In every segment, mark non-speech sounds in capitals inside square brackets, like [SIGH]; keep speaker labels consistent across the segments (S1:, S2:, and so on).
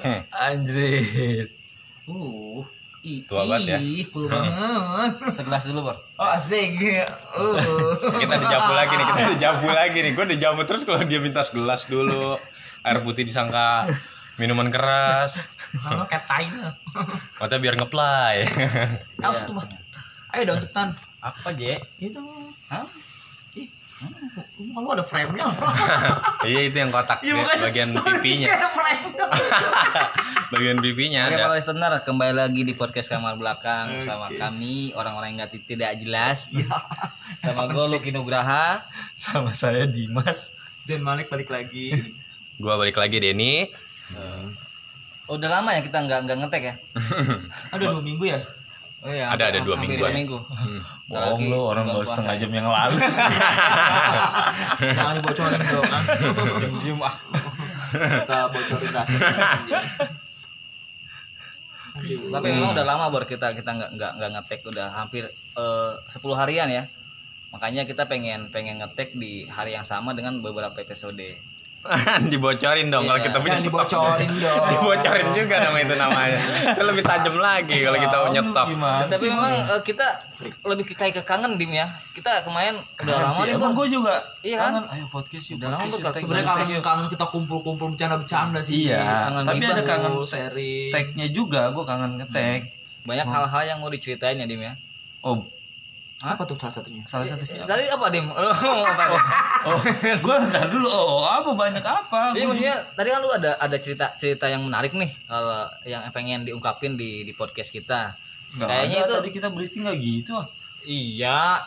S1: Hmm.
S2: Anjrit.
S3: Uh. Ih,
S1: Tua banget ya.
S3: Ih, cool banget.
S4: Segelas dulu, Bor.
S3: Oh, asik. Uh.
S1: [LAUGHS] Kita dijamu lagi nih, kita dijamu lagi nih. Gue dijamu terus kalau dia minta segelas dulu. Air putih disangka minuman keras.
S3: Kamu katain. lah.
S1: Mata biar ngeplay.
S3: Awas tuh, Bor. Ayo dong cepetan.
S4: Apa, Je?
S2: Gitu.
S3: Itu.
S4: Hah?
S3: Ih, rumah lu ada frame-nya.
S1: [LAUGHS] Iya itu yang kotak
S3: Iya,
S1: dia,
S3: makanya.
S1: bagian
S3: Lu
S1: pipinya.
S3: [LAUGHS] ada frame-nya.
S1: Bagian pipinya
S4: Oke,
S1: ada.
S4: para listener, kembali lagi di podcast kamar belakang sama kami orang-orang yang nggak tidak jelas.
S1: [LAUGHS] Ya.
S4: sama gue Lucky Nugraha.
S2: Sama saya Dimas.
S3: Zain Malik balik lagi.
S1: Gua balik lagi Denny. [LAUGHS]
S4: Udah lama ya kita nggak nggak ngetek ya?
S3: Aduh, dua minggu ya?
S4: Oh iya,
S1: Ada- ada
S4: hampir-
S1: dua
S4: hampir
S1: mingguan
S4: dua
S1: ya.
S4: minggu. Bentar
S2: Bohong
S4: lagi
S2: lo orang
S4: bulan
S2: baru setengah
S4: puasa ya.
S2: jam ya. yang lalu.
S3: Jangan dibocorin dong. ah.
S4: ya. Diem-diem, ah.
S3: Kita bocorin rahasia. kita sendiri. Aduh.
S4: Tapi
S2: Hmm.
S4: memang udah lama bor kita kita nggak nggak nggak ngetek udah hampir eh, 10 harian ya. Makanya kita pengen pengen ngetek di hari yang sama dengan beberapa episode.
S1: Dibocorin dong kalau
S4: Iya.
S1: kita punya
S3: Jangan
S1: stok. [LAUGHS]
S3: dibocorin dong.
S1: Dibocorin juga nama itu namanya. Itu lebih tajam lagi kalau kita punya stok.
S2: Gimana?
S4: Tapi memang
S2: iya.
S4: eh, kita lebih ke kayak ke kangen dim ya. Kita kemarin udah
S2: Apaan
S4: lama
S2: sih?
S4: nih
S2: Emang
S4: bor.
S2: gue juga
S4: Iya kan?
S2: kangen ayo podcast yuk
S4: Udah lama
S2: podcast
S4: tuh, Kak.
S2: yuk, tag,
S3: Sebenarnya
S2: tag,
S3: kangen
S2: yuk. kangen
S3: kangen kita kumpul-kumpul bercanda-bercanda sih.
S2: iya
S4: kangen
S2: tapi
S4: gibah
S2: ada kangen
S3: Kangen seri.
S2: tagnya juga gue kangen ngetek
S4: Banyak hal-hal yang mau diceritain ya dim ya.
S2: oh
S3: Apa tuh salah satunya?
S2: salah satu sih
S4: Tadi apa dim? [LAUGHS] Lu ngomong apa? Dim?
S2: [LAUGHS] oh gue ntar dulu oh apa banyak apa
S4: Iya maksudnya tadi kan lu ada ada cerita cerita yang menarik nih kalau yang pengen diungkapin di di podcast kita.
S2: Nggak
S4: Kayaknya
S2: ada,
S4: itu
S2: tadi kita briefing nggak gitu ah.
S4: iya.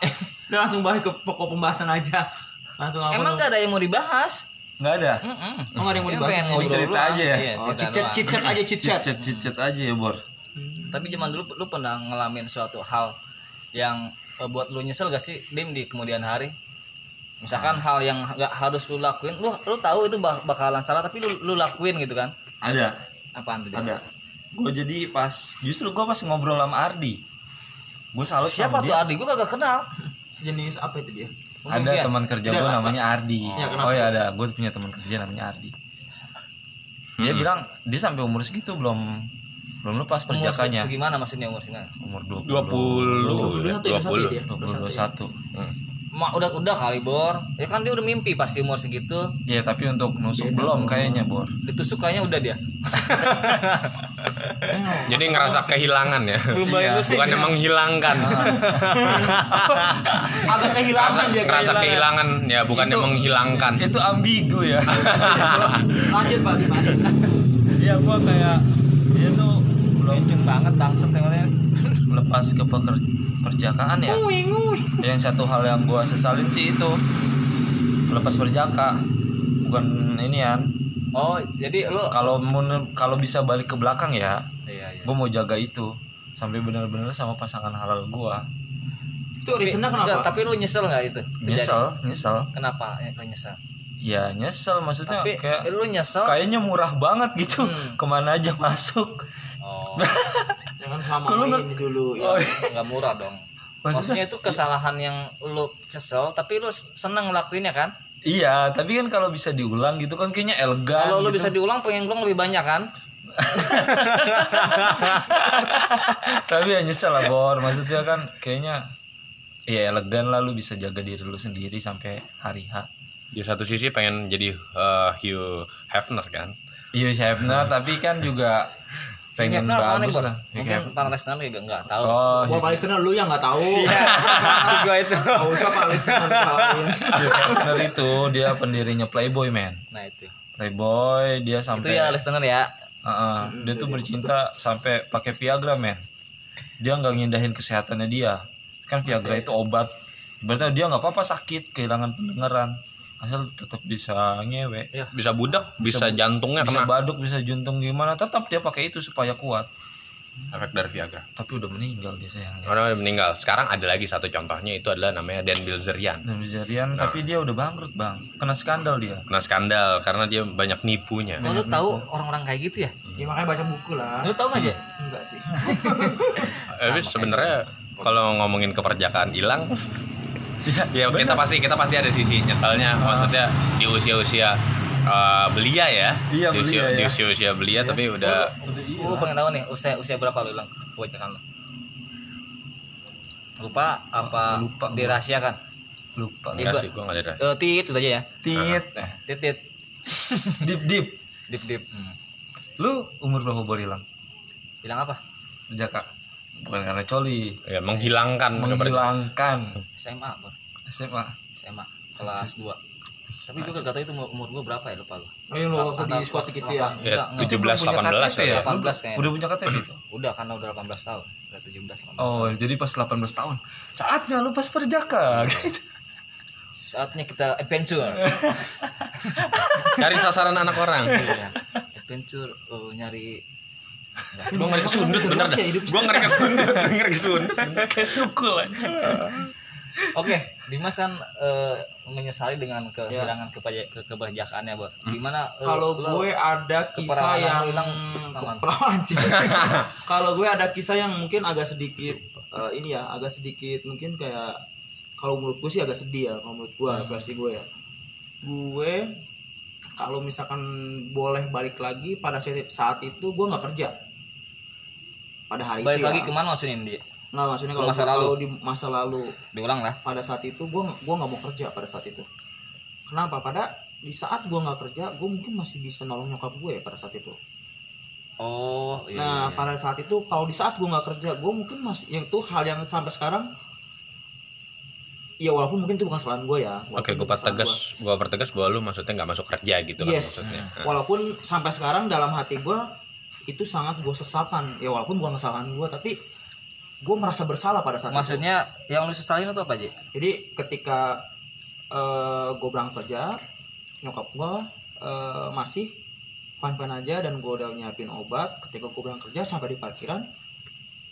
S3: Udah langsung balik ke pokok pembahasan aja. Langsung apa?
S4: Emang
S3: tuh?
S4: gak ada yang mau dibahas?
S2: nggak ada
S4: Mm-mm.
S3: Oh, nggak ada yang mau
S4: Saya
S3: dibahas.
S4: pengen
S3: Oh,
S4: ngobrol
S2: cerita
S4: doang.
S2: aja ya?
S4: Iya,
S3: Oh,
S4: cerita
S3: cicet
S4: doang.
S3: cicet aja cicet.
S2: cicet cicet aja ya bor
S4: Tapi zaman dulu lu pernah ngalamin suatu hal yang eh, buat lu nyesel gak sih dim di kemudian hari? Misalkan hal yang gak harus lu lakuin, lu lu tahu itu bak- bakalan salah tapi lu lu lakuin gitu kan?
S2: ada
S4: Apaan tuh? Dim?
S2: ada gue jadi pas justru gue pas ngobrol sama Ardi gue salut
S4: Siapa
S2: sama
S4: tuh Ardi? Gue kagak kenal.
S3: Sejenis apa itu dia?
S2: ada
S4: Mungkin.
S2: teman kerja gue namanya Ardi
S3: Ya, kenapa?
S2: oh ya ada gue punya teman kerja namanya Ardi dia bilang dia sampai umur segitu belum belum
S4: umur
S2: lepas
S4: se-
S2: perjakanya
S4: segimana maksudnya umur segimana?
S2: umur 20
S1: 20 ya,
S3: 21 ya, 21
S1: 20.
S3: ya.
S2: 21
S4: Ma, udah udah kali bor. Ya kan dia udah mimpi pasti umur segitu.
S2: ya tapi untuk nusuk belum kayaknya bor
S4: Ditusuk kayaknya udah dia.
S1: Jadi ngerasa kehilangan ya.
S4: Belum bayar Ah. tusuk.
S1: Bukan emang hilangkan.
S3: Agak kehilangan dia
S1: ngerasa
S3: kehilangan.
S1: kehilangan ya, bukan
S2: Itu-
S1: emang hilangkan.
S2: itu ambigu ya [LAUGHS]
S3: Lanjut Pak gimana?
S2: ya gue kayak dia tuh belum
S4: Kenceng banget bangset emangnya.
S2: lepas ke peker- perjakaan ya yang satu hal yang gua sesalin sih itu lepas perjaka bukan ini ya
S4: Oh, jadi lu
S2: kalau mun- kalau bisa balik ke belakang ya
S4: Iya, iya.
S2: gue mau jaga itu sampai benar-benar sama pasangan halal gua
S3: Itu reasonnya kenapa?
S4: Enggak, tapi lu nyesel nggak itu?
S2: nyesel nyesel
S4: Terjadi. Kenapa lu nyesel?
S2: ya nyesel maksudnya
S4: tapi
S2: kayak
S4: lu nyesel.
S2: kayaknya murah banget gitu
S4: Hmm.
S2: kemana aja masuk [LAUGHS]
S4: Oh,
S3: Jangan sama
S2: Kalau Oh, iya. nggak-
S3: ini dulu ya.
S4: ya, nggak murah dong. Maksudnya, itu kesalahan yang lu kesel tapi lu seneng ngelakuinnya kan?
S2: iya tapi kan kalau bisa diulang gitu kan kayaknya elegan
S4: Kalau lu
S2: gitu.
S4: bisa diulang pengen ulang lebih banyak kan?
S2: tapi ya nyesel lah Bor maksudnya kan kayaknya ya elegan lah lu bisa jaga diri lu sendiri sampai hari H
S1: Di satu sisi pengen jadi eh, Hugh Hefner kan.
S2: Iya
S4: [LAUGHS]
S2: Hefner tapi kan juga pengen
S4: Kenapa apaan nih,
S2: bagus
S4: Bor?
S2: lah ya kan?
S4: Mungkin para listener juga nggak tahu.
S2: oh
S3: Wah, Palestina lu yang nggak tahu.
S4: Iya.
S2: [LAUGHS]
S4: Maksud gua itu.
S3: Nggak usah Palestina
S4: [LAUGHS]
S3: tahu.
S2: Hugh Hefner itu dia pendirinya Playboy man
S4: Nah, itu.
S2: Playboy dia
S4: Itu
S2: sampai
S4: ya listener ya.
S2: Heeh, dia tuh bercinta sampai pakai Viagra men dia nggak ngindahin kesehatannya dia kan Viagra itu obat berarti dia nggak apa-apa sakit kehilangan pendengaran asal tetap bisa ngewe
S1: Bisa budak, bisa, jantungnya
S2: bisa
S1: kena
S2: baduk bisa juntung gimana tetap dia pakai itu supaya kuat
S1: efek dari Viagra.
S2: tapi udah meninggal dia ya. sayangnya
S1: Orang udah meninggal. Sekarang ada lagi satu contohnya itu adalah namanya Dan Bilzerian.
S2: dan Zarian
S4: Nah.
S2: tapi dia udah bangkrut bang kena skandal dia
S1: Kena skandal karena dia banyak nipunya.
S4: Kalau lu tahu orang-orang kayak gitu ya?
S3: Ya makanya baca buku lah.
S4: Lu tahu nggak ya?
S3: Enggak sih.
S1: Tapi Eh, sebenarnya kalau ngomongin keperjakaan hilang Iya, Ah. ya kita pasti kita pasti ada sisi nyesalnya maksudnya di usia-usia eh, belia ya.
S5: Iya,
S1: Di
S5: belia
S1: usia-
S5: ya.
S1: Di usia-usia belia Iya. tapi udah
S4: Gue pengen tahu nih usia usia berapa lu bilang kebanyakan lu? Lupa apa
S2: Lupa gua.
S4: dirahasiakan?
S2: lupa
S1: enggak
S4: Iya, gua-
S1: sih gua enggak ada.
S4: Eh tit itu aja ya.
S5: Tit.
S4: Tit tit
S2: deep deep
S4: dip dip.
S3: Hmm.
S2: lu umur berapa bor hilang
S4: Bilang apa?
S2: jaka bukan karena coli
S1: Ya, menghilangkan kabarnya.
S2: menghilangkan
S4: SMA, Bor.
S2: SMA
S4: SMA kelas 2. Tapi gue gak tau itu umur, umur gue berapa ya lupa gue.
S3: Oh, yang lu waktu di diskotik itu ya?
S1: Ya,
S4: Enggak, enggak.
S1: 17 18 lah ya.
S4: 18 kayaknya.
S2: udah punya KTP itu
S4: Udah karena udah 18 tahun. Udah 17 tahun.
S2: oh jadi pas 18 tahun saatnya lu pas perjaka gitu
S4: Saatnya kita adventure.
S1: Cari sasaran anak orang.
S4: Iya. adventure eh, nyari
S1: Gua ngeri kesundut bener dah. Gua ngeri kesundut, ngeri kesundut. Kayak tukul aja.
S4: Oke, Dimas kan eh, menyesali dengan kehilangan kepaja- ke kebahagiaannya, Bor. Gimana eh,
S3: Ya. Kalau
S4: lo-
S3: gue ada kisah
S4: keperawanan
S3: yang
S4: lu hilang, aman.
S3: [LAUGHS] keperawanan
S4: [LAUGHS]
S3: sih. Kalau gue ada kisah yang mungkin agak sedikit eh, ini ya, agak sedikit mungkin kayak kalau menurut gue sih agak sedih ya, kalau menurut gue
S4: Hmm.
S3: versi gue ya. Gue kalau misalkan boleh balik lagi pada saat saat itu gue nggak kerja pada hari
S4: balik
S3: itu
S4: lagi
S3: ya.
S4: kemana maksudnya dia?
S3: nggak maksudnya
S4: ke
S3: kalau
S4: masa
S3: kalau
S4: lalu?
S3: di masa lalu
S4: Diulang lah.
S3: pada saat itu gue gua nggak mau kerja pada saat itu kenapa pada di saat gue nggak kerja gue mungkin masih bisa nolong nyokap gue pada saat itu
S4: Oh, iya.
S3: nah
S4: iya.
S3: pada saat itu kalau di saat gue nggak kerja gue mungkin masih yang itu hal yang sampai sekarang ya walaupun mungkin itu bukan kesalahan gue ya walaupun
S1: Oke,
S3: itu
S1: gue
S3: bukan kesalahan gua.
S1: pertegas, gue pertegas bahwa lu maksudnya nggak masuk kerja gitu kan
S3: Yes.
S1: maksudnya.
S3: walaupun sampai sekarang dalam hati gue itu sangat gue sesalkan ya walaupun bukan kesalahan gue tapi gue merasa bersalah pada saat itu.
S4: Maksudnya yang lu sesalin itu apa, Ji?
S3: jadi ketika gue berangkat kerja nyokap gue masih fan fan aja dan gue udah nyiapin obat ketika gue berangkat kerja sampai di parkiran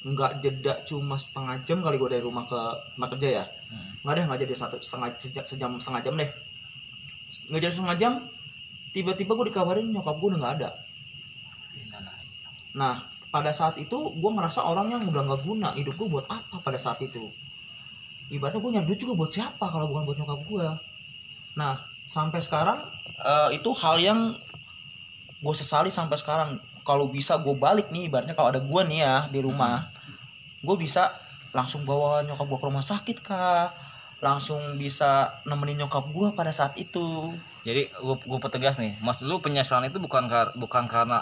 S3: nggak jeda cuma setengah jam kali gue dari rumah ke tempat kerja ya
S4: Hmm.
S3: nggak deh nggak jadi satu setengah sejak sejam setengah jam deh nggak jadi setengah jam tiba-tiba gue dikabarin nyokap gue udah nggak ada Nah, pada saat itu gue ngerasa orang yang udah nggak guna hidup gue buat apa pada saat itu. Ibaratnya gue nyari duit juga buat siapa kalau bukan buat nyokap gue. Nah, sampai sekarang eh, itu hal yang gue sesali sampai sekarang. Kalau bisa gue balik nih, ibaratnya kalau ada gue nih ya di rumah,
S4: Hmm.
S3: gue bisa langsung bawa nyokap gue ke rumah sakit kah? Langsung bisa nemenin nyokap gue pada saat itu.
S4: Jadi gue gue pertegas nih, mas lu penyesalan itu bukan kar- bukan karena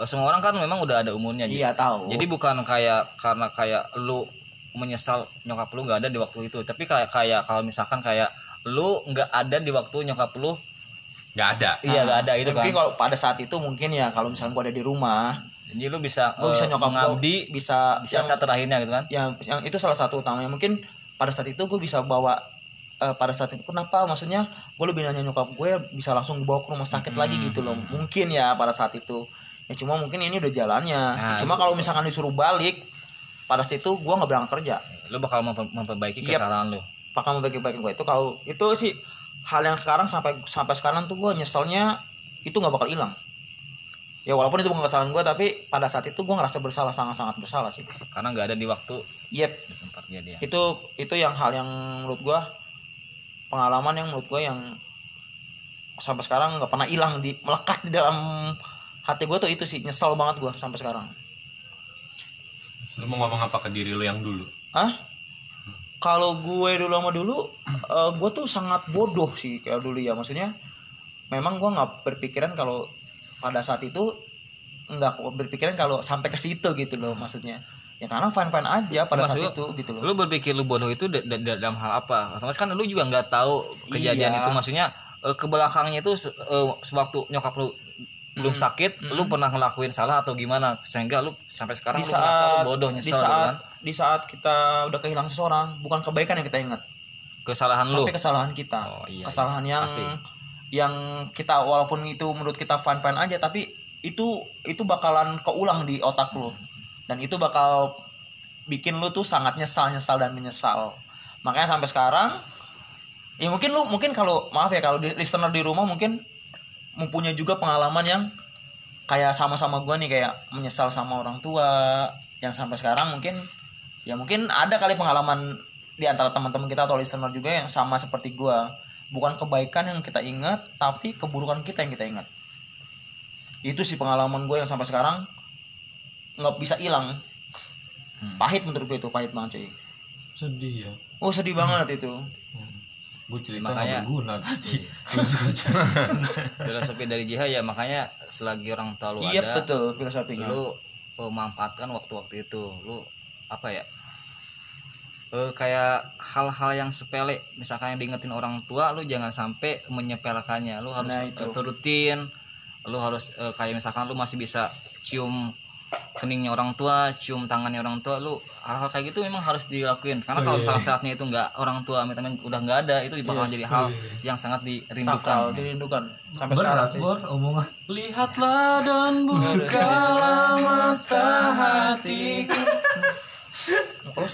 S4: eh, semua orang kan memang udah ada umurnya Ji.
S3: Iya tahu.
S4: Jadi bukan kayak karena kayak lu menyesal nyokap lu nggak ada di waktu itu, tapi kayak kayak kalau misalkan kayak lu nggak ada di waktu nyokap lu,
S1: Nggak ada.
S4: iya nggak ada itu kan.
S3: Nah, mungkin kalau pada saat itu mungkin ya kalau misalnya gue ada di rumah,
S4: Jadi lu bisa
S3: gue bisa
S4: eh,
S3: nyokap Iya,
S4: mengabdi
S3: gue bisa
S4: bisa saat terakhirnya gitu kan.
S3: yang, yang itu salah satu utamanya mungkin pada saat itu gue bisa bawa eh, pada saat itu kenapa maksudnya gue lebih nanya nyokap gue bisa langsung bawa ke rumah sakit lagi gitu loh mungkin ya pada saat itu ya cuma mungkin ini udah jalannya
S4: Nah,
S3: cuma kalau misalkan disuruh balik pada saat itu gue nggak berangkat kerja
S4: Lu bakal memper- memperbaiki
S3: Yep.
S4: kesalahan lu.
S3: pakai membagi-bagi gue itu kalau itu sih hal yang sekarang sampai sampai sekarang tuh gue nyeselnya itu nggak bakal hilang ya walaupun itu bukan kesalahan gue tapi pada saat itu gue ngerasa bersalah sangat-sangat bersalah sih
S4: Karena nggak ada di waktu
S3: yep
S4: di tempat dia dia.
S3: itu itu yang hal yang menurut gua pengalaman yang menurut gua yang sampai sekarang nggak pernah hilang di melekat di dalam hati gua tuh itu sih nyesel banget gua sampai sekarang
S1: Lu mau ngomong apa ke diri lu yang dulu?
S3: Hah? Kalau gue dulu sama dulu, [CLEARS THROAT] eh, gue tuh sangat bodoh sih kayak dulu ya. Maksudnya, memang gue nggak berpikiran kalau pada saat itu nggak berpikiran kalau sampai ke situ gitu loh maksudnya. Ya karena fan-fan aja pada
S4: Maksud
S3: saat itu gitu loh.
S4: Lu berpikir lu bodoh itu da- da- da- dalam hal apa? Otomatis kan lu juga nggak tahu
S3: Iya.
S4: kejadian itu maksudnya eh, ke belakangnya itu se- eh, sewaktu nyokap lu belum
S3: Hmm.
S4: sakit, lu pernah ngelakuin salah atau gimana sehingga lu sampai
S3: di
S4: sekarang lu merasa lu
S3: saat
S4: bodoh nyesel
S3: di
S4: gitu
S3: saat
S4: kan?
S3: di saat kita udah kehilangan seseorang bukan kebaikan yang kita ingat
S4: Kesalahan lu.
S3: tapi kesalahan kita
S4: Oh, iya,
S3: kesalahan
S4: iya.
S3: yang
S4: Pasti.
S3: yang kita walaupun itu menurut kita fan fan aja tapi itu itu bakalan keulang di otak lu dan itu bakal bikin lu tuh sangat nyesal nyesal dan menyesal makanya sampai sekarang ya mungkin lu mungkin kalau maaf ya kalau di, listener di rumah mungkin mempunyai juga pengalaman yang kayak sama-sama gua nih kayak menyesal sama orang tua yang sampai sekarang mungkin ya mungkin ada kali pengalaman di antara teman-teman kita atau listener juga yang sama seperti gua bukan kebaikan yang kita ingat tapi keburukan kita yang kita ingat itu sih pengalaman gue yang sampai sekarang nggak bisa hilang
S4: Hmm.
S3: pahit menurut gue itu pahit banget cuy
S5: sedih ya
S3: oh sedih
S4: Hmm.
S3: banget itu
S2: Hmm.
S5: gue cerita nggak
S4: Makanya-
S5: berguna tadi
S2: [LAUGHS]
S5: Terus cerita.
S4: filosofi dari jihad ya makanya selagi orang tahu lu
S3: iya
S4: ada
S3: betul filosofinya
S4: lu eh, manfaatkan waktu-waktu itu lu apa ya Eh, kayak hal-hal yang sepele misalkan yang diingetin orang tua lu jangan sampai menyepelekannya lu harus
S3: Nah, itu.
S4: eh, turutin lu harus eh, kayak misalkan lu masih bisa cium keningnya orang tua cium tangannya orang tua lu hal-hal kayak gitu memang harus dilakuin
S3: Oh,
S4: karena
S3: iya,
S4: kalau misalkan saatnya itu nggak orang tua amit-amit udah nggak ada itu bakal jadi hal yang sangat
S3: sakal
S4: dirindukan
S3: dirindukan sampai sekarang
S5: berat
S3: cuy.
S2: ya?
S5: bor omongan
S2: Lihatlah dan bukalah mata hatiku.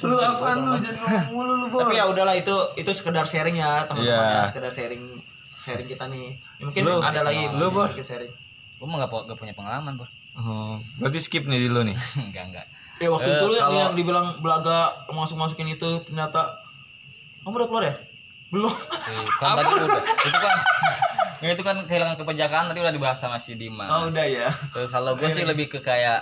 S5: lu apaan lu jadi ngomong mulu lu bor
S3: tapi ya udahlah itu itu sekedar sharing ya teman-teman
S1: Iya.
S3: ya sekedar sharing sharing kita nih Ya, mungkin ada lagi lu sharing
S4: lu mah nggak po- nggak punya pengalaman bro [LAUGHS]
S2: Oh, berarti skip nih di lu nih.
S4: enggak enggak
S3: ya waktu itu lu yang- yang dibilang belaga masuk masukin itu ternyata kamu udah keluar ya belum
S4: Eh, kan tadi udah itu kan [LAUGHS] ya itu kan kehilangan kepenjagaan tadi udah dibahas sama si Dimas.
S3: oh [LAUGHS] udah ya
S4: [LAUGHS] Eh, kalau gue sih lebih ke kayak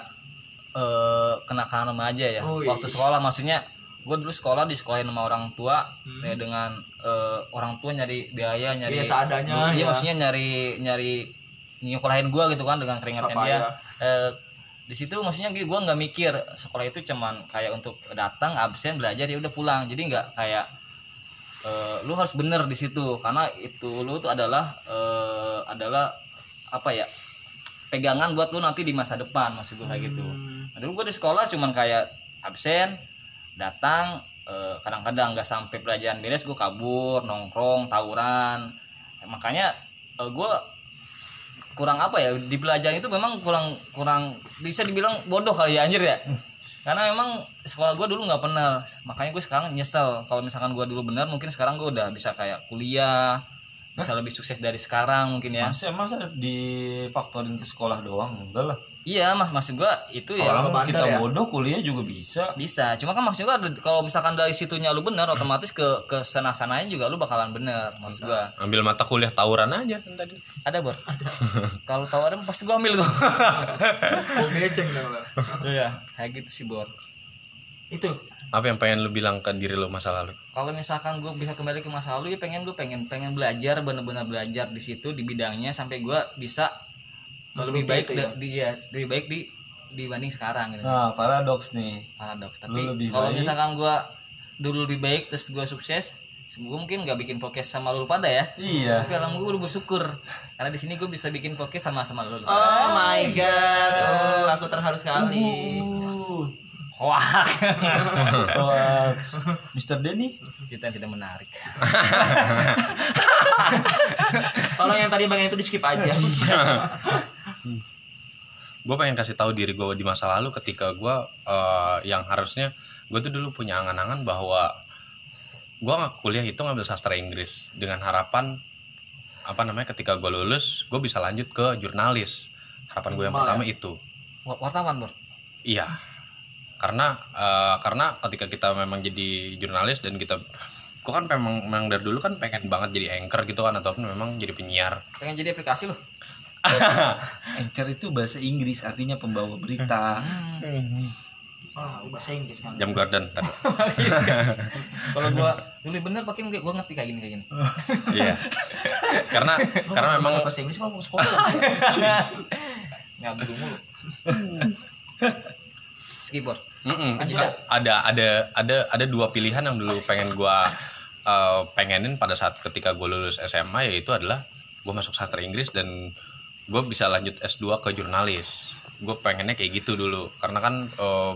S4: eh kenakalan remaja ya.
S3: Oh, iya.
S4: Waktu sekolah maksudnya gue dulu sekolah disekolahin sama orang tua ya dengan eh, orang tua nyari biaya nyari
S3: Hmm. Iya, seadanya,
S4: Iya
S3: ya.
S4: maksudnya nyari nyari nyekolahin gue gitu kan dengan keringatnya
S3: Susah
S4: dia. Eh, di situ maksudnya gue nggak mikir sekolah itu cuman kayak untuk datang absen belajar ya udah pulang. Jadi nggak kayak eh, lu harus bener di situ karena itu lu tuh adalah eh, adalah apa ya pegangan buat lu nanti di masa depan maksud gue kayak gitu. Nah, dulu gue di sekolah cuman kayak absen, datang eh, kadang-kadang nggak sampai pelajaran beres gue kabur, nongkrong, tawuran. Eh, makanya eh, gue kurang apa ya di pelajaran itu memang kurang kurang bisa dibilang bodoh kali ya anjir ya. Karena memang sekolah gue dulu nggak benar, makanya gue sekarang nyesel. Kalau misalkan gue dulu benar, mungkin sekarang gue udah bisa kayak kuliah, bisa lebih sukses dari sekarang mungkin ya.
S2: Masa masa difaktorin ke sekolah doang enggak lah.
S4: Iya mas maksud gua itu ya
S2: Kalau
S3: bandar
S2: kita
S3: ya.
S2: bodoh kuliah juga bisa.
S4: bisa cuma kan maksud gua ada- kalau misalkan dari situnya lu bener otomatis ke ke sana sananya juga lu bakalan bener maksud gua
S1: Ambil mata kuliah tawuran aja kan tadi.
S4: ada bor [LAUGHS] kalau tahu ada pasti gua ambil tuh [LAUGHS]
S3: beceng dong lo.
S4: iya kayak gitu sih bor
S3: itu
S1: Apa yang pengen lu bilang ke diri lu masa lalu?
S4: kalau misalkan gua bisa kembali ke masa lalu ya pengen gua pengen pengen belajar bener-bener belajar di situ di bidangnya sampai gua bisa lebih baik
S3: itu
S4: da- di, ya, lebih baik di dibanding sekarang gitu
S2: Nah, paradoks nih.
S4: paradoks
S2: Lu
S4: tapi
S2: lebih
S4: kalau
S2: baik.
S4: misalkan gua dulu lebih baik terus gua sukses gue mungkin gak bikin podcast sama lu pada ya
S2: Iya.
S4: tapi alam gue udah bersyukur karena di sini gue bisa bikin podcast sama sama lu
S3: oh my god oh, aku terharu sekali
S4: hoak
S2: Paradoks. Mr. Denny,
S4: cerita yang tidak menarik
S3: tolong yang tadi bagian itu di skip [LAUGHS] aja
S1: gue pengen kasih tahu diri gue di masa lalu ketika gue yang harusnya gue tuh dulu punya angan-angan bahwa gue nggak kuliah itu ngambil sastra Inggris dengan harapan apa namanya ketika gue lulus gue bisa lanjut ke jurnalis harapan gue yang pertama itu
S4: Wa- wartawan bor
S1: iya karena eh, karena ketika kita memang jadi jurnalis dan kita gue kan memang, memang dari dulu kan pengen banget jadi anchor gitu kan ataupun memang jadi penyiar
S4: pengen jadi aplikasi loh
S2: anchor itu bahasa Inggris artinya pembawa berita.
S4: Hmm.
S3: oh, bahasa Inggris kan
S1: jam garden ntar.
S4: kalau gue dulu bener pakai gue gue ngerti kayak gini kayak gini
S1: iya karena karena memang
S3: bahasa Inggris kamu mau
S1: [LAUGHS]
S3: sekolah
S4: nggak buru
S2: [LAUGHS]
S4: mulu skip bor
S1: Mm-mm, kita- Kan ada ada ada ada dua pilihan yang dulu pengen gua eh, pengenin pada saat ketika gue lulus SMA yaitu adalah gue masuk sastra Inggris dan gue bisa lanjut S2 ke jurnalis gue pengennya kayak gitu dulu karena kan eh,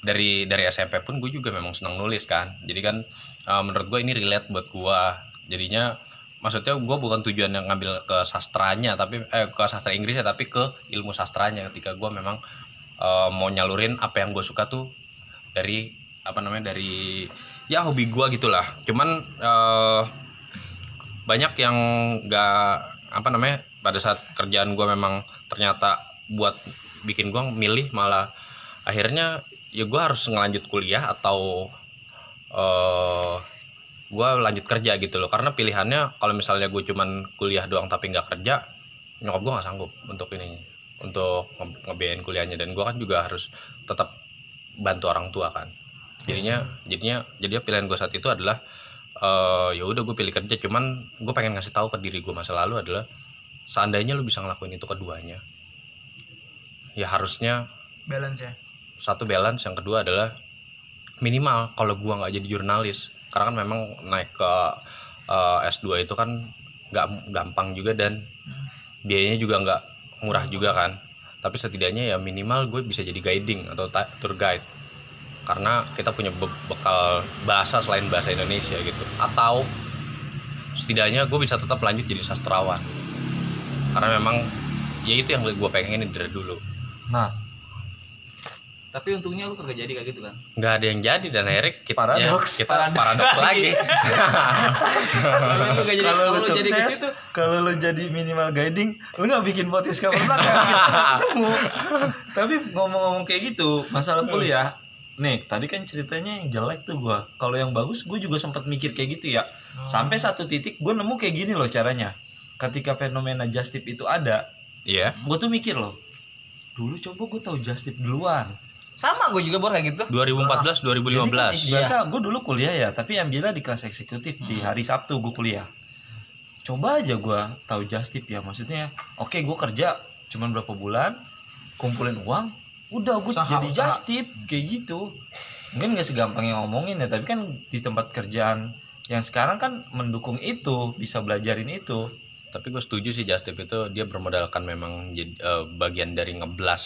S1: dari dari SMP pun gue juga memang senang nulis kan jadi kan eh, menurut gue ini relate buat gue jadinya maksudnya gue bukan tujuan yang ngambil ke sastranya tapi eh, ke sastra Inggrisnya tapi ke ilmu sastranya ketika gue memang eh, mau nyalurin apa yang gue suka tuh dari apa namanya dari ya hobi gue gitulah cuman eh, banyak yang nggak apa namanya pada saat kerjaan gue memang ternyata buat bikin gue milih malah akhirnya ya gue harus ngelanjut kuliah atau eh gue lanjut kerja gitu loh karena pilihannya kalau misalnya gue cuman kuliah doang tapi nggak kerja nyokap gue nggak sanggup untuk ini untuk nge- ngebiayain kuliahnya dan gue kan juga harus tetap bantu orang tua kan jadinya jadinya jadinya pilihan gue saat itu adalah eh, ya udah gue pilih kerja cuman gue pengen ngasih tahu ke diri gue masa lalu adalah seandainya lu bisa ngelakuin itu keduanya ya harusnya
S5: balance ya
S1: satu balance yang kedua adalah minimal kalau gua nggak jadi jurnalis karena kan memang naik ke eh, S2 itu kan nggak gampang juga dan biayanya juga nggak murah juga kan tapi setidaknya ya minimal gue bisa jadi guiding atau ta- tour guide karena kita punya be- bekal bahasa selain bahasa Indonesia gitu atau setidaknya gue bisa tetap lanjut jadi sastrawan karena memang ya itu yang gue pengenin dari dulu
S2: Nah,
S4: Tapi untungnya lu kagak jadi kayak gitu kan.
S1: nggak ada yang jadi dan Erik kita
S2: Paradoks.
S1: ya, kita paradoks, lagi
S4: Kalau lu nggak jadi
S2: kalau
S4: kalau
S2: lu
S4: lu jadi
S2: sukses,
S4: gitu
S2: kalau lu jadi minimal guiding, lu nggak bikin podcast kapan belakang. [LAUGHS] Ketemu. Tapi ngomong-ngomong kayak gitu, masalah kuliah. Nih, tadi kan ceritanya yang jelek tuh gua. Kalau yang bagus gua juga sempat mikir kayak gitu ya. Sampai satu titik gua nemu kayak gini loh caranya. Ketika fenomena justip itu ada,
S1: iya
S2: gua tuh mikir loh. Dulu coba gua tahu justip duluan.
S4: sama gue juga bor kayak gitu.
S1: 2014 2015
S2: Jadi kan
S3: Iya.
S2: ibaratnya gue dulu kuliah ya, tapi ambilnya di kelas eksekutif di hari Sabtu gue kuliah. Coba aja gue tahu justip ya, maksudnya, oke gue kerja cuman berapa bulan, kumpulin uang, udah gue
S3: Usaha,
S2: jadi
S3: usaha.
S2: justip kayak gitu. Mungkin gak segampang yang ngomongin ya, tapi kan di tempat kerjaan yang sekarang kan mendukung itu, bisa belajarin itu.
S1: tapi gue setuju sih Justip itu dia bermodalkan memang jadi, eh, bagian dari ngeblas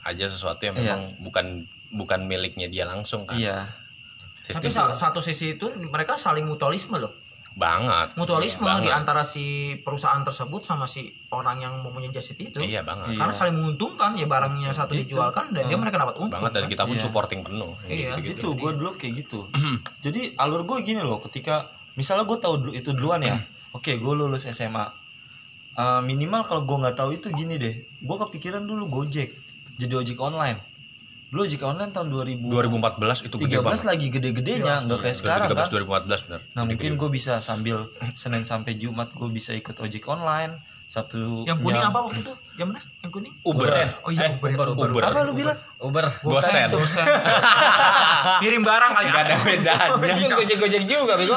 S1: aja sesuatu yang
S2: Iya.
S1: memang bukan bukan miliknya dia langsung kan
S2: Iya.
S3: Tapi
S1: sistem
S3: sa- satu sisi itu mereka saling mutualisme loh.
S1: banget
S3: Mutualisme
S1: Iya, banget.
S3: di antara si perusahaan tersebut sama si orang yang mempunyai jasit itu.
S1: iya banget
S3: Karena
S2: Iya.
S3: saling menguntungkan ya barangnya satu
S2: Itu.
S3: dijualkan dan dia mereka dapat untung.
S1: Hmm. banget dan
S3: kan?
S1: kita pun
S2: Iya.
S1: supporting penuh
S3: Iya,
S1: gitu,
S2: itu gue dulu kayak gitu jadi alur gue gini loh ketika misalnya gue tahu dulu itu duluan ya oke gue lulus SMA Eh, minimal kalau gue nggak tahu itu gini deh gue kepikiran dulu gojek jadi ojek online dulu ojek online tahun 2000
S1: 2014 itu gede
S2: 13
S1: banget
S2: lagi gede-gedenya nggak kayak sekarang kan
S1: 2013 benar
S2: nah mungkin gue bisa sambil senin sampai jumat gue bisa ikut ojek online sabtu
S3: Yang kuning
S1: Iya.
S3: apa waktu itu? Yang mana? Yang kuning?
S1: Uber
S3: Oh iya, Uber.
S4: Uber, Uber,
S1: Uber.
S2: apa lu bilang
S4: Uber.
S1: Gosen
S3: Kirim barang kali
S1: gak ada bedanya
S4: Kan gojek-gojek juga
S2: [LAUGHS]
S4: bego.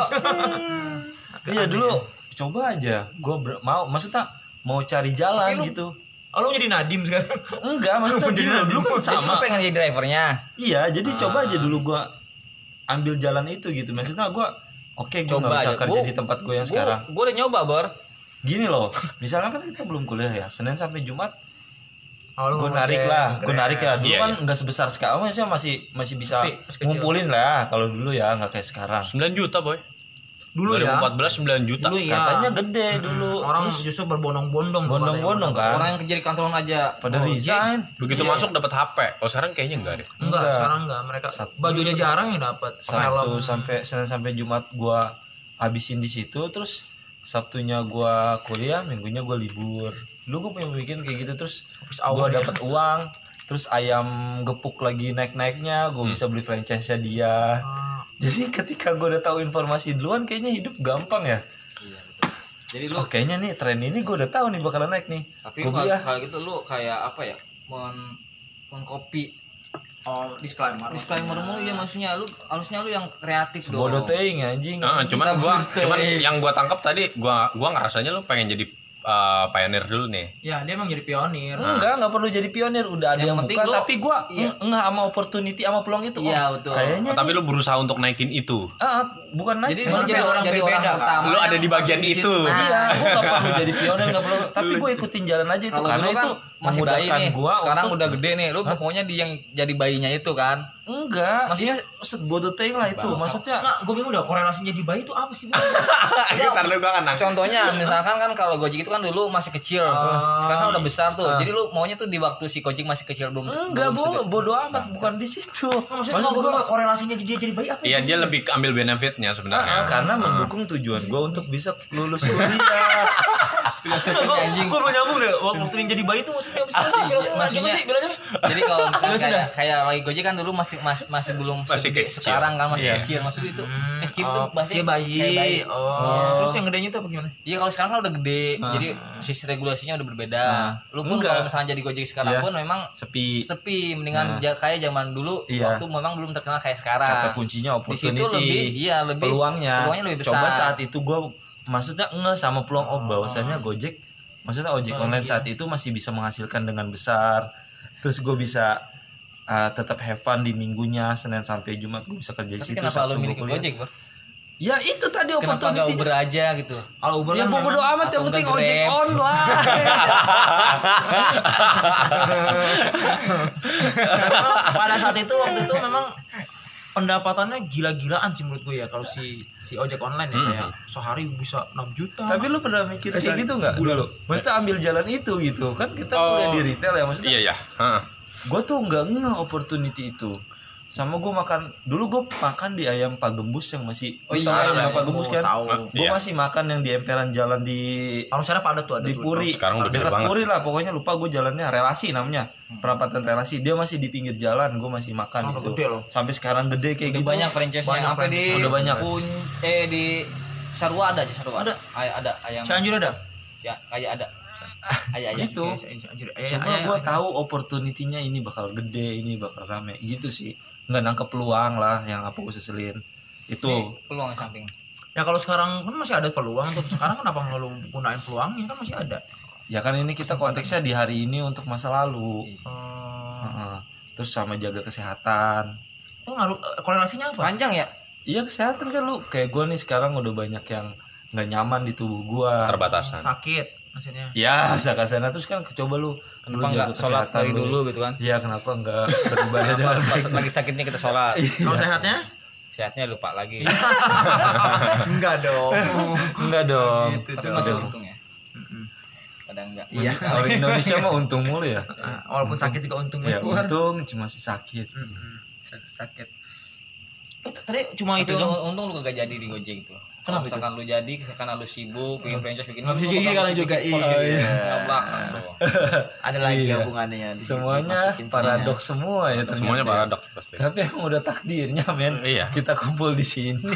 S2: iya dulu coba aja gue mau maksudnya mau cari jalan
S3: lu-
S2: gitu
S3: Oh, lu jadi Nadim sekarang. [LAUGHS]
S2: Enggak, maksudnya gini loh, dulu
S4: Jadi
S2: kan
S4: lu
S2: sama.
S4: pengen jadi drivernya.
S2: Iya, jadi coba aja dulu gua ambil jalan itu gitu. Maksudnya gua oke gua
S4: Coba
S2: nggak bisa
S4: aja.
S2: kerja
S4: Gua-
S2: di tempat gua yang
S4: Gua-
S2: sekarang.
S4: Gua udah nyoba bor.
S2: Gini loh, misalnya kan kita belum kuliah ya, Senin sampai Jumat
S3: Oh, lu
S2: gua
S3: ngomong
S2: narik
S3: kayak
S2: lah, gua
S3: keren.
S2: narik ya. Dulu
S1: Iya,
S2: kan nggak sebesar sekarang, maksudnya masih masih bisa
S3: Tapi, masih kecil.
S2: ngumpulin lah kalau dulu ya, nggak kayak sekarang.
S1: 9 juta boy
S3: Dulu ya.
S1: 2014 9 juta
S3: Dulu ya.
S2: Katanya gede dulu,
S3: Orang
S2: terus
S3: justru berbondong-bondong.
S2: bondong-bondong
S4: Orang Oh,
S2: kan.
S4: iya. yang kerja di kantoran aja.
S2: pada
S4: Gojek.
S2: resign.
S1: begitu masuk dapat HP kalau sekarang kayaknya enggak deh
S3: Enggak,
S2: Enggak.
S3: sekarang enggak. Mereka
S2: Satu-
S3: bajunya jarang yang dapat.
S2: Sabtu
S3: Helm.
S2: sampai Senin sampai Jumat gua habisin di situ terus Sabtunya gua kuliah, minggunya gua libur. Lu gua punya pemikiran kayak gitu terus gua dapat uang, terus ayam gepuk lagi naik-naiknya, gua bisa beli franchise-nya dia.
S3: Ah,
S2: Jadi ketika gua udah tahu informasi duluan kayaknya hidup gampang ya.
S4: Iya, betul. Jadi lu
S2: Oh, kayaknya nih tren ini gua udah tahu nih bakalan naik nih.
S4: tapi
S2: Gua
S4: kalau
S2: beli ya.
S4: kalau gitu lu kayak apa ya? Mon mengcopy
S3: Oh, disclaimer.
S4: disclaimer mulu ya maksudnya lu harusnya lu yang kreatif dong.
S2: Bodoh teing anjing.
S1: Nah, cuman
S4: Bisa
S1: gua [LAUGHS]
S4: berteh.
S1: cuman yang gua tangkap tadi gua gua ngerasanya lu pengen jadi uh, pioneer dulu nih.
S3: Ya, dia emang jadi pionir.
S2: Enggak, enggak perlu jadi pionir, udah
S4: Ah.
S2: ada
S4: Yang
S2: yang,
S4: penting
S2: buka
S4: lu-
S2: tapi gua
S4: Iya.
S2: enggak sama opportunity sama peluang itu. Oh,
S4: Iya, betul.
S2: Kayaknya
S1: Oh, Tapi lu berusaha untuk naikin itu.
S2: Ah, bukan naik.
S4: Jadi lu
S2: Maksudnya
S4: jadi
S3: orang
S4: orang jadi
S3: berbeda,
S4: orang
S3: kan?
S4: pertama.
S1: Lu
S4: yang
S1: ada di bagian
S4: masuk
S1: itu.
S4: Nah,
S2: iya, gue gak perlu jadi pionir, gak perlu. Tapi gue ikutin jalan aja itu
S4: Kalau
S2: karena
S4: dulu kan
S2: itu
S4: masih bayi
S2: memudahkan
S4: nih,
S2: gue.
S4: sekarang
S2: untuk,
S4: udah gede nih, lu pokoknya di yang jadi bayinya itu kan.
S2: enggak.
S4: Maksudnya-
S2: set bodoh ting lah itu. Maksudnya
S3: Enggak, gue bingung dah korelasinya di bayi itu apa sih? [LAUGHS] Bang?
S1: Ntar lu gua kan nangkep.
S2: Iya.
S4: Contohnya misalkan kan kalau Gojek itu kan dulu masih kecil,
S2: Ah.
S4: sekarang kan udah besar tuh. Jadi lu maunya tuh di waktu si Gojek masih kecil belum.
S2: enggak
S4: belum
S2: bodoh,
S4: sege-
S2: bodoh amat, bukan di situ.
S3: Maksudnya
S2: Maksud
S3: gue
S2: gue
S3: korelasinya dia jadi bayi apa? ya?
S1: Iya, dia lebih ambil
S2: Ah,
S1: benefitnya sebenarnya.
S2: karena mendukung tujuan gue untuk bisa lulus kuliah.
S4: filosofi anjing
S2: Gue mau nyambung deh. Waktu yang jadi bayi tuh maksudnya apa sih?
S4: Iya, maksudnya jadi kalau misalnya kayak, kayak lagi gojek kan dulu masih masih, masih belum
S1: Masih
S4: segede
S1: kecil.
S4: sekarang kan masih
S1: Iya.
S4: kecil maksudnya itu kecil tuh
S3: Oh,
S4: pasti
S3: kecil bayi.
S4: kayak bayi.
S3: Oh. Terus yang gedenya itu apa gimana?
S4: Iya kalau sekarang kan udah gede, jadi sisi regulasinya udah berbeda. Lu pun
S2: Enggak.
S4: kalau misalnya jadi gojek sekarang
S2: Iya.
S4: pun memang
S2: Sepi.
S4: sepi, mendingan ja- kayak zaman dulu
S2: Iya.
S4: waktu memang belum terkenal kayak
S2: Kata
S4: sekarang.
S2: kuncinya
S4: Nah, Di situ lebih,
S2: opportunity.
S4: iya lebih
S2: peluangnya.
S4: peluangnya lebih besar.
S2: Coba saat itu gue maksudnya nge sama peluang oh bahwasannya Gojek maksudnya ojek
S4: Oh, iya.
S2: online saat itu masih bisa menghasilkan dengan besar. Terus gue bisa uh, tetap have fun di minggunya Senin sampai Jumat gue bisa kerja di
S4: Tapi
S2: situ.
S4: kenapa lu
S2: Sabtu gua
S4: milih ke
S2: kuliah.
S4: gojek, Bro?
S2: Ya itu tadi
S4: Kenapa nggak
S2: opportunity.
S4: Uber aja gitu?
S3: Kalau Uber
S2: Ya
S3: kan
S2: bodo
S3: memang-
S2: amat yang
S4: atau
S2: penting
S4: enggak
S2: ojek
S4: Grab. [LAUGHS]
S2: online.
S3: Karena [LAUGHS] pada saat itu waktu [LAUGHS] itu memang pendapatannya gila-gilaan sih menurut gue ya kalau si si ojek online ya kayak sehari bisa 6 juta.
S2: Tapi lu pernah mikir kayak gitu nggak dulu? Maksudnya ambil jalan itu gitu kan kita
S1: Oh.
S2: kuliah di retail ya maksudnya.
S1: Iya ya. Heeh.
S2: Gue tuh nggak ngeh opportunity itu. Sama gue makan dulu gue makan di ayam Pak Gembus yang masih oh,
S3: iya, iya,
S2: Pak Gembus kan.
S3: tahu.
S2: Gue
S1: Iya.
S2: masih makan yang di emperan jalan di
S3: Kalau sana pada tuh ada
S2: di
S3: tuh.
S2: Puri.
S1: Sekarang udah gede
S2: Dekat
S1: banget.
S2: Puri lah pokoknya lupa gue jalannya relasi namanya.
S3: Hmm.
S2: Perapatan relasi. Dia masih di pinggir jalan, gue masih makan
S3: Sampai
S2: gitu.
S3: gede loh.
S2: Sampai sekarang gede kayak
S4: Udah
S2: gitu.
S4: banyak franchise-nya
S3: Banyak
S4: sampai di
S3: franchise.
S2: Udah banyak.
S4: Pun- eh di Sarwa ada aja Sarwa. Ada. Ay- ada ayam.
S3: Cianjur ada? Iya,
S4: Cia- kayak ada.
S3: [LAUGHS]
S4: Ayah ayah.
S2: Gitu.
S3: Eh,
S2: Cuma gue tahu opportunity-nya ini bakal gede, ini bakal rame, gitu sih. Nggak nangkep peluang lah yang apa gue seselin. Itu
S4: Peluang di samping.
S3: Ya kalau sekarang kan masih ada peluang tuh. Sekarang kenapa nggak lu gunain peluangnya kan masih ada.
S2: ya kan ini kita konteksnya di hari ini untuk masa lalu.
S3: Eh,
S2: Heeh. Terus sama jaga kesehatan.
S3: itu ngaruh eh, korelasinya apa?
S4: Panjang ya?
S2: Iya kesehatan kan lu kayak gue nih sekarang udah banyak yang nggak nyaman di tubuh gue.
S1: Keterbatasan.
S3: Sakit maksudnya.
S2: Ya saka sana terus kan coba lu lu
S4: Kenapa nggak sholat dari dulu gitu
S2: [LAUGHS]
S4: kan?
S2: Iya kenapa nggak beribadah dengan
S4: Pas
S2: [LAUGHS]
S4: lagi sakitnya kita sholat.
S2: Iya.
S3: Kalau sehatnya?
S4: Sehatnya lupa lagi.
S3: Enggak
S2: [LAUGHS]
S3: dong.
S2: Enggak dong.
S4: Tapi masih Gitu, untung ya. Kadang enggak.
S2: Iya. Orang Indonesia mah untung mulu ya.
S3: Eh, Walaupun sakit juga untungnya
S2: Ya
S3: keluar.
S2: untung cuma sih sakit.
S4: Gitu,
S3: Mm-mm, sakit. Eh, t- Tadi cuma
S4: Tapi
S3: itu.
S4: untung, untung lu kagak jadi di Gojek itu. Kenapa misalkan lu jadi karena lu sibuk, bikin franchise bikin
S3: Nggak bisa jadi
S4: bakal
S3: karena
S4: mesti
S3: juga,
S4: bikin
S3: iya.
S4: podcast. ya.
S3: Iya.
S4: Nggak kan, belakang
S2: [LAUGHS]
S4: dong.
S5: Ada lagi
S2: Iya.
S5: hubungannya di situ,
S2: Semuanya
S4: ya.
S5: masukin
S2: paradoks semua ya ternyata.
S1: Semuanya
S2: ya.
S1: paradoks pasti.
S2: Tapi emang udah takdirnya men.
S1: Iya.
S2: Kita kumpul di
S4: [LAUGHS]
S2: sini.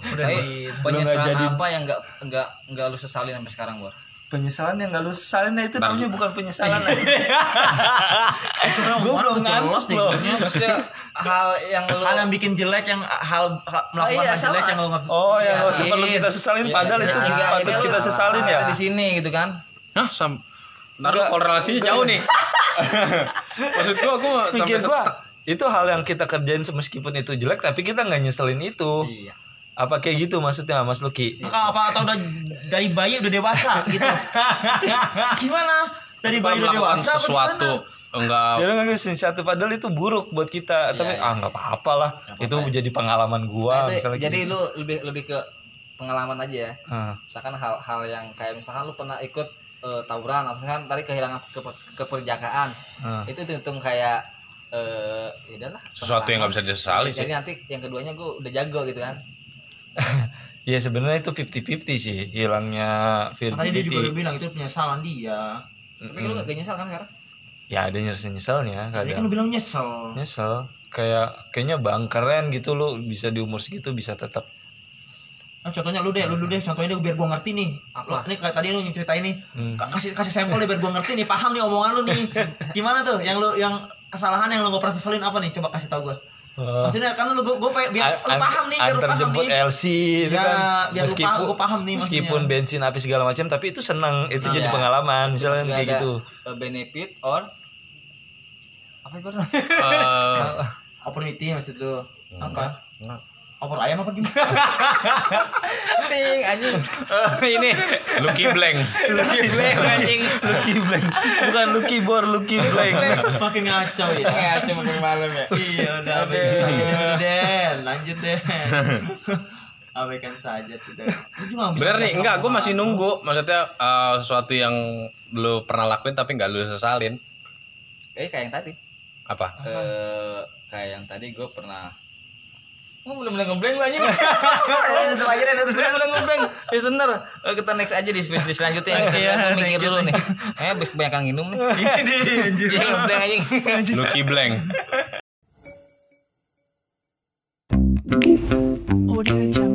S2: udah
S4: Tapi
S2: di- lu nggak
S4: penyesalan
S2: jadi
S4: apa yang enggak enggak enggak lu sesalin sampai sekarang, Bor?
S2: penyesalan yang nggak lu sesalin nah, itu namanya bukan penyesalan. nah.
S3: kan
S2: Gue belum ngantuk
S3: jelas deh
S2: loh.
S3: hidupnya.
S2: [LAUGHS]
S4: Maksudnya hal yang lu
S3: Hal yang bikin jelek yang hal, hal melakukan
S5: iya,
S3: hal jelek yang lo nggak
S2: Oh, yang nggak usah
S3: Iya.
S2: perlu kita sesalin
S4: iya,
S2: padahal itu bisa patut kita sesalin ya.
S4: Di sini gitu kan.
S1: Hah, sam Ntar lu korelasinya jauh nih. Maksud gua gua
S2: Pikir
S1: [LAUGHS]
S2: gua itu hal yang kita kerjain meskipun itu jelek tapi kita nggak nyeselin itu.
S4: Iya.
S2: Apa kayak gitu maksudnya Mas Luki?
S3: Maka Iya. apa atau udah dari bayi udah dewasa gitu. gimana? Dari
S1: Gua
S3: bayi udah
S1: melakukan
S3: dewasa apa
S1: sesuatu enggak
S2: Ya lu nggak ngeselin satu padahal itu buruk buat kita tapi
S4: iya. ya.
S2: ah nggak apa-apa lah itu jadi pengalaman
S4: Nah,
S2: gua
S4: Itu-
S2: misalnya
S4: jadi
S2: gitu.
S4: lu lebih lebih ke pengalaman aja ya.
S2: Ah.
S4: Misalkan hal-hal yang kayak misalkan lu pernah ikut eh, tawuran atau kan tadi kehilangan ke, keperjakaan.
S1: Hmm.
S2: Ah.
S4: Itu dihitung kayak eh ya udahlah.
S1: sesuatu yang nggak bisa disesali sih.
S4: Jadi nanti yang keduanya gue udah jago gitu kan.
S2: Ya sebenarnya itu 50-50 sih hilangnya
S3: Makanya dia juga udah
S2: virginity.
S3: bilang itu penyesalan dia.
S4: Tapi
S1: Hmm.
S4: lu gak nyesal kan sekarang?
S2: Ya ada nyesel-nyeselnya
S3: Tadi kan
S2: kadang.
S3: lu bilang nyesel.
S2: Nyesel kayak kayaknya bang keren gitu lu bisa di umur segitu bisa tetap
S3: Nah, contohnya lu deh, lu dulu deh contohnya deh biar gua ngerti nih. Apa? Ini kayak tadi lu yang ceritain nih. Ka- Kasih kasih sampel deh biar gua ngerti nih, paham nih omongan lu nih. Gimana tuh yang lu yang kesalahan yang lu gak pernah seselin apa nih? Coba kasih tau gua.
S2: Ah.
S3: Maksudnya kan lu gua, gua pengen- biar lu
S2: eh, An-
S3: paham nih, biar lu
S2: antar
S3: paham
S2: jemput
S3: nih.
S2: LC itu
S3: Ya,
S2: kan
S3: biar lu paham, gua paham nih
S2: meskipun
S3: maksudnya. Oh, iya.
S2: bensin habis segala macam tapi itu seneng itu
S4: Nah,
S2: jadi
S4: ya.
S2: pengalaman misalnya
S4: Terus
S2: kayak
S3: [LAUGHS]
S4: ada,
S2: gitu
S4: eh, benefit or apa itu?
S1: Eh,
S3: Opportunity maksud lu. Apa? Opor ayam apa gimana?
S4: Ting [LAUGHS]
S2: [LAUGHS]
S4: anjing.
S1: ini Eh, Lucky Blank.
S4: Blank anjing.
S2: Lucky blank bukan Lucky bor Lucky blank
S3: Makin ngaco ya.
S4: Ya cuma malam ya.
S3: iya udah abaikan saja Den lanjut deh
S1: [LAUGHS]
S3: abaikan saja sudah Lu juga nggak bisa
S1: Bener nih,
S3: ngerasain
S1: enggak, gue
S3: apa-apa.
S1: masih nunggu. Maksudnya eh, sesuatu yang lu pernah lakuin tapi nggak lu sesalin.
S4: Eh kayak yang tadi.
S1: Apa?
S4: Eh kayak yang tadi gue pernah Oh, bener-bener ngeblank lu [LAUGHS] anjing. Tutup Eh, aja deh, tutup. bener-bener ngeblank. Listener, eh, kita next aja di space di selanjutnya. [LAUGHS] Iya, gue mikir dulu nih. Eh, habis kebanyakan minum [LAUGHS] nih. Jadi ngeblank Iya, anjing. [LAUGHS]
S1: Lucky Blank.
S6: Audio Jungle.